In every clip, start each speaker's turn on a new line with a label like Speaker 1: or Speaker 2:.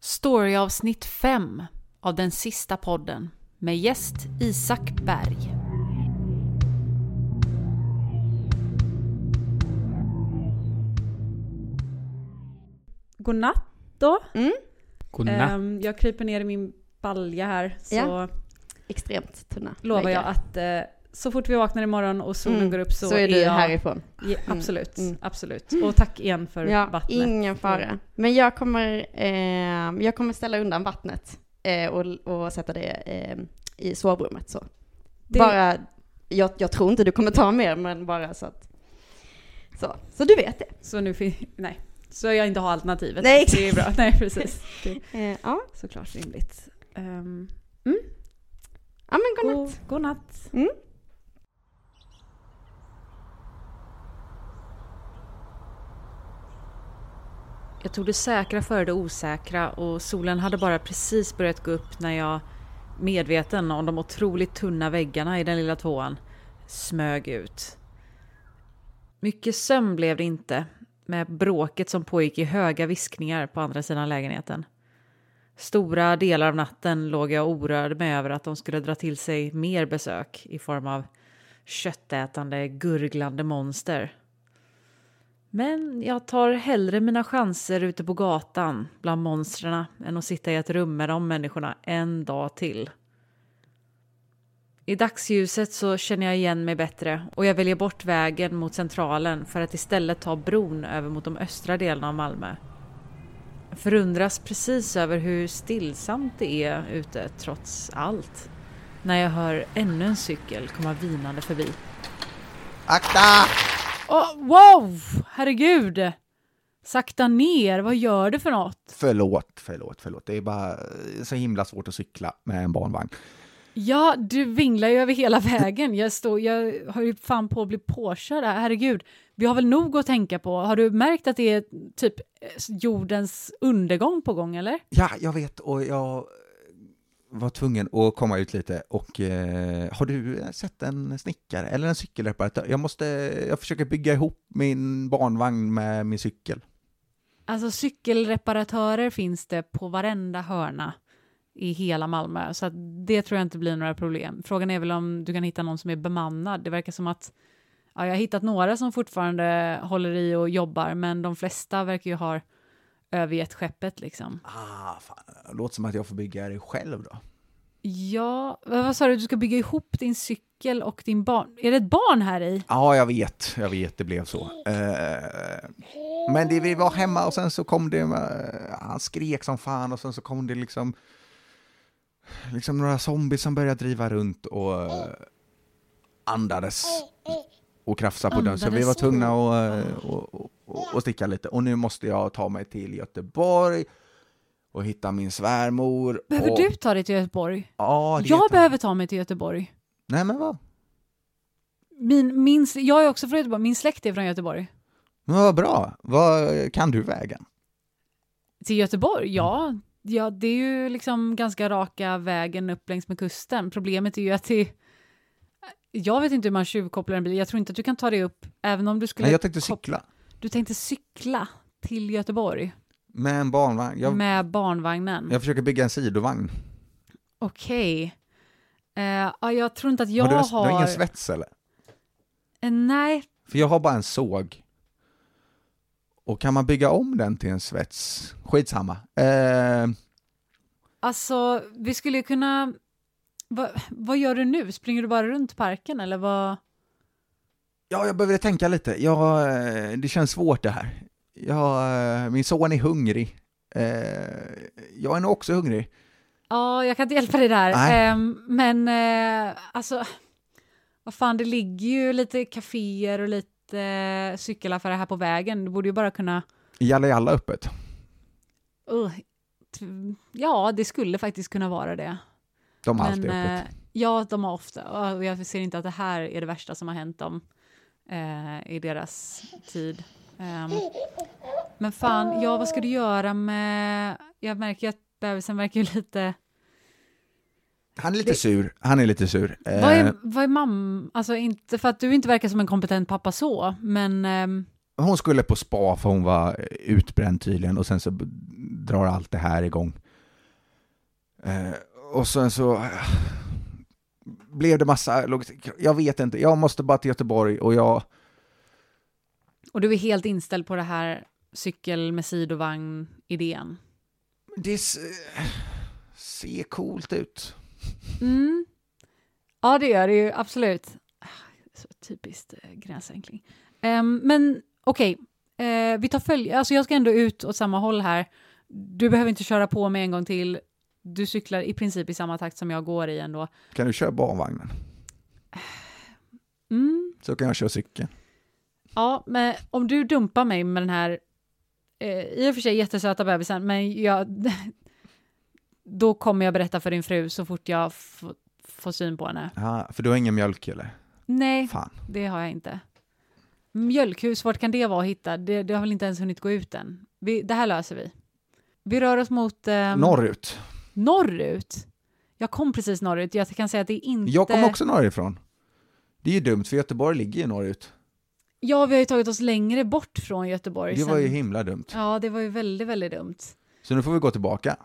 Speaker 1: Story-avsnitt 5 av den sista podden med gäst Isak Berg.
Speaker 2: Godnatt då.
Speaker 3: Mm.
Speaker 1: Em,
Speaker 4: Godnatt.
Speaker 2: Ehm, jag kryper ner i min balja här så
Speaker 3: Ja. Extremt tunna.
Speaker 2: lovar jag
Speaker 3: väggar.
Speaker 2: att eh, så fort vi vaknar imorgon och solen
Speaker 3: Mm,
Speaker 2: går upp så,
Speaker 3: Så är du
Speaker 2: jag...
Speaker 3: härifrån.
Speaker 2: Ja, absolut,
Speaker 3: Mm.
Speaker 2: absolut. Och tack igen för
Speaker 3: Ja,
Speaker 2: vattnet.
Speaker 3: ingen fara. Men jag kommer, ehm, jag kommer ställa undan vattnet eh, och, och sätta det ehm, i sovrummet så.
Speaker 2: Det-
Speaker 3: Bara, jag, jag tror inte du kommer ta mer men bara så att. Så, så du vet det.
Speaker 2: Så nu finns... Nej. Så jag inte har alternativet.
Speaker 3: Nej,
Speaker 2: Det är bra. Nej, precis. Det är
Speaker 3: Eh, ja.
Speaker 2: såklart rimligt. Um,
Speaker 3: ja, men godnatt.
Speaker 2: god, godnatt.
Speaker 1: Jag tog det säkra före det osäkra och solen hade bara precis börjat gå upp när jag, medveten om de otroligt tunna väggarna i den lilla tvåan, smög ut. Mycket sömn blev det inte, med bråket som pågick i höga viskningar på andra sidan lägenheten. Stora delar av natten låg jag orörd med över att de skulle dra till sig mer besök i form av köttätande, gurglande monster. Men jag tar hellre mina chanser ute på gatan bland monstren än att sitta i ett rum med de människorna en dag till. I dagsljuset så känner jag igen mig bättre och jag väljer bort vägen mot centralen för att istället ta bron över mot de östra delarna av Malmö. Jag förundras precis över hur stillsamt det är ute trots allt när jag hör ännu en cykel komma vinande förbi.
Speaker 4: Akta!
Speaker 1: Åh, wow! Herregud! Sakta ner, vad gör du för något?
Speaker 4: Förlåt, förlåt, förlåt. Det är bara eh, så himla svårt att cykla med en barnvagn.
Speaker 1: Ja, du vinglar ju över hela vägen. Jag, står, jag har ju fan på att bli påkörd här. Herregud, vi har väl nog att tänka på. Har du märkt att det är typ eh, jordens undergång på gång, eller?
Speaker 4: Ja, jag vet och jag var tvungen att komma ut lite och eh, har du sett en snickare eller en cykelreparatör? Jag måste, jag försöker bygga ihop min barnvagn med min cykel.
Speaker 1: Alltså cykelreparatörer finns det på varenda hörna i hela Malmö, så att det tror jag inte blir några problem. Frågan är väl om du kan hitta någon som är bemannad. Det verkar som att ja, jag har hittat några som fortfarande håller i och jobbar, men de flesta verkar ju ha övergett skeppet liksom.
Speaker 4: Ah, fan. Det låter som att jag får bygga det själv då.
Speaker 1: Ja, vad vad sa du? Du ska bygga ihop din cykel och din barn. Är det ett barn här i?
Speaker 4: Ja, jag vet, jag vet, det blev så. Eh, men det, vi var hemma och sen så kom det, eh, han skrek som fan och sen så kom det liksom, liksom några zombies som började driva runt och eh, andades och krafsa på dörren. Så vi
Speaker 1: Andades?
Speaker 4: var tvungna att eh, och, och, och, och sticka lite. Och nu måste jag ta mig till Göteborg och hitta min svärmor.
Speaker 1: Behöver
Speaker 4: och,
Speaker 1: du ta dig till Göteborg?
Speaker 4: Ja, det
Speaker 1: jag
Speaker 4: heter-
Speaker 1: behöver ta mig till Göteborg.
Speaker 4: Nej men vad,
Speaker 1: Min, min, sl- jag är också från Göteborg, min släkt är från Göteborg.
Speaker 4: men vad bra. Vad kan du vägen?
Speaker 1: Till Göteborg? Ja, ja det är ju liksom ganska raka vägen upp längs med kusten. Problemet är ju att det... Jag vet inte hur man tjuvkopplar en bil. Jag tror inte att du kan ta dig upp, även om du skulle...
Speaker 4: Nej, jag tänkte
Speaker 1: kop-
Speaker 4: cykla.
Speaker 1: Du tänkte cykla till Göteborg
Speaker 4: Med en barnvagn. Jag,
Speaker 1: med barnvagnen.
Speaker 4: jag försöker bygga en sidovagn.
Speaker 1: Okej. Eh, ja, jag tror inte att jag
Speaker 4: har du, en,
Speaker 1: har...
Speaker 4: du har ingen svets eller?
Speaker 1: Eh, nej,
Speaker 4: För jag har bara en såg. Och kan man bygga om den till en svets? Skitsamma. Eh,
Speaker 1: alltså vi skulle ju kunna... Va, vad gör du nu? Springer du bara runt parken eller vad?
Speaker 4: ja, jag behöver tänka lite. Jag, eh, det känns svårt det här. Jag, eh, min son är hungrig. Eh, jag är nog också hungrig.
Speaker 1: Ja, jag kan inte hjälpa dig där.
Speaker 4: Nej.
Speaker 1: Ehm, men eh, alltså, vad fan, det ligger ju lite kaféer och lite eh, cykelaffärer här på vägen. Du borde ju bara kunna...
Speaker 4: Är Jalla Jalla öppet?
Speaker 1: Ugh, t- ja, det skulle faktiskt kunna vara det.
Speaker 4: De har alltid
Speaker 1: Men,
Speaker 4: öppet.
Speaker 1: eh, ja, de har ofta. Och jag ser inte att det här är det värsta som har hänt dem eh, i deras tid. Ehm, men fan, ja, vad ska du göra med... Jag märker ju att bebisen verkar ju lite...
Speaker 4: Han är lite sur. Han är lite sur. Eh,
Speaker 1: Vad är, vad är mamma? Alltså, inte för att du inte verkar som en kompetent pappa så, men... ehm,
Speaker 4: Hon skulle på spa för hon var utbränd tydligen och sen så b- drar allt det här igång. Eh, och sen så eh, blev det massa logistik. Jag vet inte, jag måste bara till Göteborg och jag...
Speaker 1: Och du är helt inställd på det här cykel med sidovagn-idén?
Speaker 4: Det s- eh, ser coolt ut.
Speaker 1: Mm. Ja, det gör det ju absolut. Ah, Så typiskt eh, gränsänkling. Ehm, men okej, eh, vi tar följ... Alltså jag ska ändå ut åt samma håll här. Du behöver inte köra på mig en gång till. Du cyklar i princip i samma takt som jag går i ändå.
Speaker 4: Kan du köra barnvagnen?
Speaker 1: Mm.
Speaker 4: Så kan jag köra cykeln.
Speaker 1: Ja, men om du dumpar mig med den här eh, i och för sig jättesöta bebisen, men jag... Då kommer jag berätta för din fru så fort jag f- får syn på henne.
Speaker 4: Ja, för du har ingen mjölk eller?
Speaker 1: Nej.
Speaker 4: Fan.
Speaker 1: Det har jag inte. Mjölkhus, vart kan det vara att hitta? Det, det har väl inte ens hunnit gå ut än. Vi, det här löser vi. Vi rör oss mot ehm,
Speaker 4: Norrut.
Speaker 1: norrut. Jag kom precis norrut. Jag kan säga att det är inte...
Speaker 4: Jag kom också norrifrån. Det är ju dumt, för Göteborg ligger ju norrut.
Speaker 1: Ja, vi har ju tagit oss längre bort från Göteborg.
Speaker 4: Det var
Speaker 1: sen.
Speaker 4: ju himla dumt.
Speaker 1: Ja, det var ju väldigt, väldigt dumt.
Speaker 4: Så nu får vi gå tillbaka.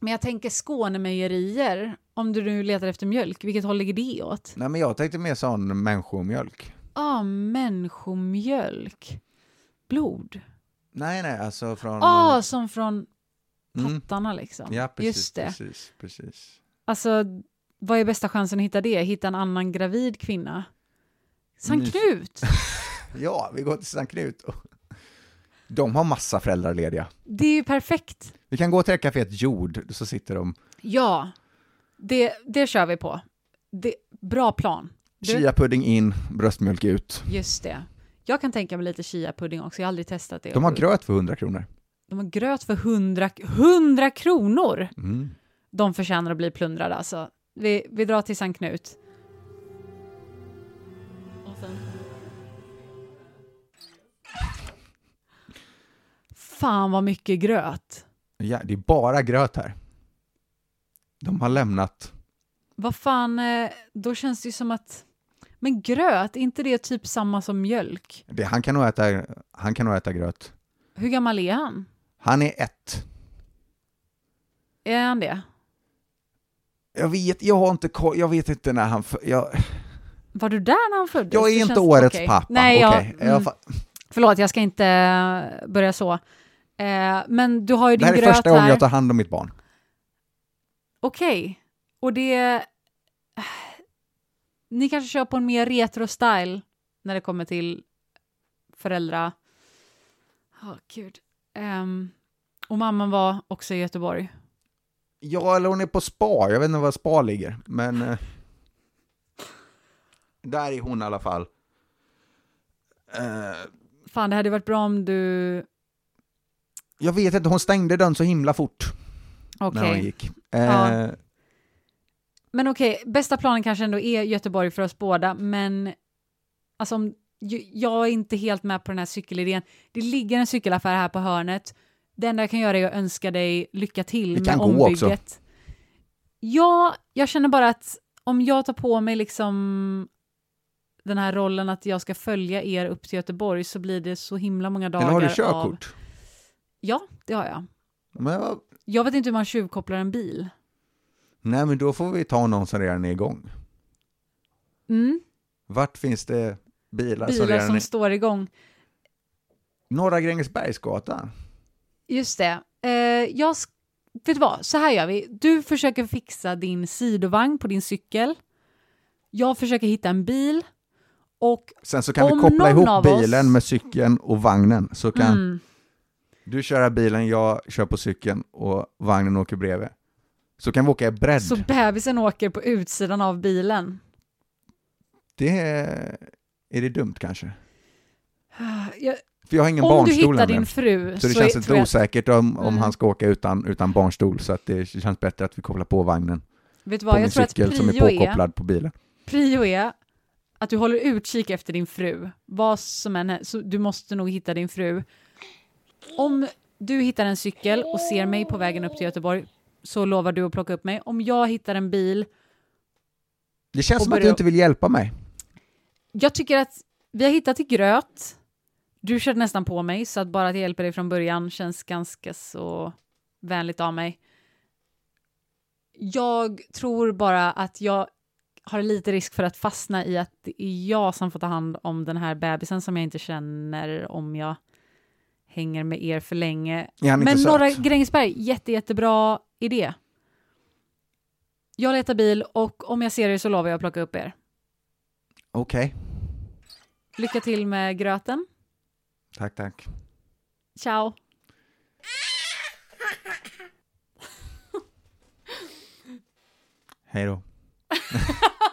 Speaker 1: Men jag tänker Skånemejerier, om du nu letar efter mjölk, vilket håll ligger det åt?
Speaker 4: Nej, men jag tänkte mer sån människomjölk.
Speaker 1: Ah, människomjölk. Blod.
Speaker 4: Nej, nej, alltså från...
Speaker 1: Ah, som från
Speaker 4: mm.
Speaker 1: pattarna liksom.
Speaker 4: Ja, precis,
Speaker 1: Just det.
Speaker 4: precis, precis.
Speaker 1: Alltså, vad är bästa chansen att hitta det? Hitta en annan gravid kvinna?
Speaker 4: Mm.
Speaker 1: Sankt Knut!
Speaker 4: Ja, vi går till Sankt Knut. De har massa föräldrar lediga.
Speaker 1: Det är ju perfekt.
Speaker 4: Vi kan gå till det här kaféet Jord, så sitter de.
Speaker 1: Ja, det, det kör vi på. Det, bra plan. Du?
Speaker 4: Chiapudding in, bröstmjölk ut.
Speaker 1: Just det. Jag kan tänka mig lite chia-pudding också, jag har aldrig testat det.
Speaker 4: De har gröt för 100 kronor.
Speaker 1: De har gröt för 100, 100 kronor!
Speaker 4: Mm.
Speaker 1: De förtjänar att bli plundrade alltså. Vi, vi drar till Sankt Knut. Fan vad mycket gröt.
Speaker 4: Ja, det är bara gröt här. De har lämnat...
Speaker 1: Vad fan, eh, då känns det ju som att... Men gröt, är inte det typ samma som mjölk?
Speaker 4: Det, han, kan nog äta, han kan nog äta gröt.
Speaker 1: Hur gammal är han?
Speaker 4: Han är ett.
Speaker 1: Är han det?
Speaker 4: Jag vet, jag har inte koll, jag vet inte när han... fö- Jag,
Speaker 1: Var du där när han föddes?
Speaker 4: jag
Speaker 1: Det
Speaker 4: är inte
Speaker 1: känns-
Speaker 4: årets
Speaker 1: okej.
Speaker 4: pappa.
Speaker 1: Nej, jag,
Speaker 4: Okej, jag
Speaker 1: mm,
Speaker 4: fa-
Speaker 1: förlåt, jag ska inte eh, börja så. Eh, men du har ju
Speaker 4: det
Speaker 1: din
Speaker 4: här är
Speaker 1: gröt
Speaker 4: första gången
Speaker 1: här.
Speaker 4: jag tar hand om mitt barn.
Speaker 1: Okej, och det... Ni kanske kör på en mer retro-style när det kommer till föräldra... Ja, gud. Ehm, och mamman var också i Göteborg.
Speaker 4: Ja, eller hon är på spa. Jag vet inte var spa ligger, men... eh, Där är hon i alla fall. Eh,
Speaker 1: Fan, det hade varit bra om du...
Speaker 4: jag vet inte, hon stängde den så himla fort
Speaker 1: Okej.
Speaker 4: när hon gick. Eh,
Speaker 1: Ja. Men okej, bästa planen kanske ändå är Göteborg för oss båda, men... Alltså, om, ju- jag är inte helt med på den här cykelidén. Det ligger en cykelaffär här på hörnet. Det enda jag kan göra är att önska dig lycka till
Speaker 4: Vi
Speaker 1: med
Speaker 4: kan gå
Speaker 1: ombygget.
Speaker 4: också.
Speaker 1: Ja, jag känner bara att om jag tar på mig liksom den här rollen att jag ska följa er upp till Göteborg så blir det så himla många dagar
Speaker 4: eller har du
Speaker 1: Av...
Speaker 4: körkort?
Speaker 1: Ja, det har jag.
Speaker 4: Men, vad-
Speaker 1: Jag vet inte hur man tjuvkopplar en bil.
Speaker 4: nej, men då får vi ta någon som redan är igång.
Speaker 1: Mm.
Speaker 4: Vart finns Alltså, det bilar, som
Speaker 1: Bilar
Speaker 4: redan
Speaker 1: som
Speaker 4: är...
Speaker 1: står igång.
Speaker 4: Norra Grängesbergsgatan?
Speaker 1: Just det. Eh, jag sk- vet du vad, så här gör vi. Du försöker fixa din sidovagn på din cykel. Jag försöker hitta en bil. Och
Speaker 4: Sen så kan
Speaker 1: Om
Speaker 4: vi koppla
Speaker 1: någon av
Speaker 4: ihop
Speaker 1: oss-
Speaker 4: bilen med cykeln och vagnen, så kan
Speaker 1: mm,
Speaker 4: du köra bilen, jag kör på cykeln och vagnen åker bredvid. Så kan vi åka i bredd.
Speaker 1: så bebisen åker på utsidan av bilen.
Speaker 4: Det är, är det dumt kanske.
Speaker 1: Ah, Jag,
Speaker 4: För jag har ingen
Speaker 1: om du
Speaker 4: barnstol
Speaker 1: hittar
Speaker 4: nämligen.
Speaker 1: din fru
Speaker 4: Så det
Speaker 1: så
Speaker 4: känns
Speaker 1: är-
Speaker 4: lite
Speaker 1: tror jag-
Speaker 4: osäkert om, om
Speaker 1: Mm.
Speaker 4: han ska åka utan, utan barnstol, så att det känns bättre att vi kopplar på vagnen
Speaker 1: Vet du
Speaker 4: på
Speaker 1: vad,
Speaker 4: min
Speaker 1: jag tror att
Speaker 4: cykel som är
Speaker 1: prio är,
Speaker 4: påkopplad på bilen.
Speaker 1: prio är att du håller utkik efter din fru. Vad som än är, så du måste nog hitta din fru. Om du hittar en cykel och ser mig på vägen upp till Göteborg så lovar du att plocka upp mig. Om jag hittar en bil
Speaker 4: Det känns
Speaker 1: Och
Speaker 4: som att du
Speaker 1: börja-
Speaker 4: inte vill hjälpa mig.
Speaker 1: Jag tycker att vi har hittat till gröt. Du körde nästan på mig, så att bara att jag hjälper dig från början känns ganska så vänligt av mig. Jag tror bara att jag har lite risk för att fastna i att det är jag som får ta hand om den här bebisen som jag inte känner om jag hänger med er för länge.
Speaker 4: Är han
Speaker 1: Men
Speaker 4: inte
Speaker 1: Norra
Speaker 4: söt?
Speaker 1: Grängesberg, jätte, jättebra idé. Jag letar bil och om jag ser er så lovar jag att plocka upp er.
Speaker 4: Okej,
Speaker 1: Lycka till med gröten.
Speaker 4: tack, tack.
Speaker 1: Ciao.
Speaker 4: Hej då.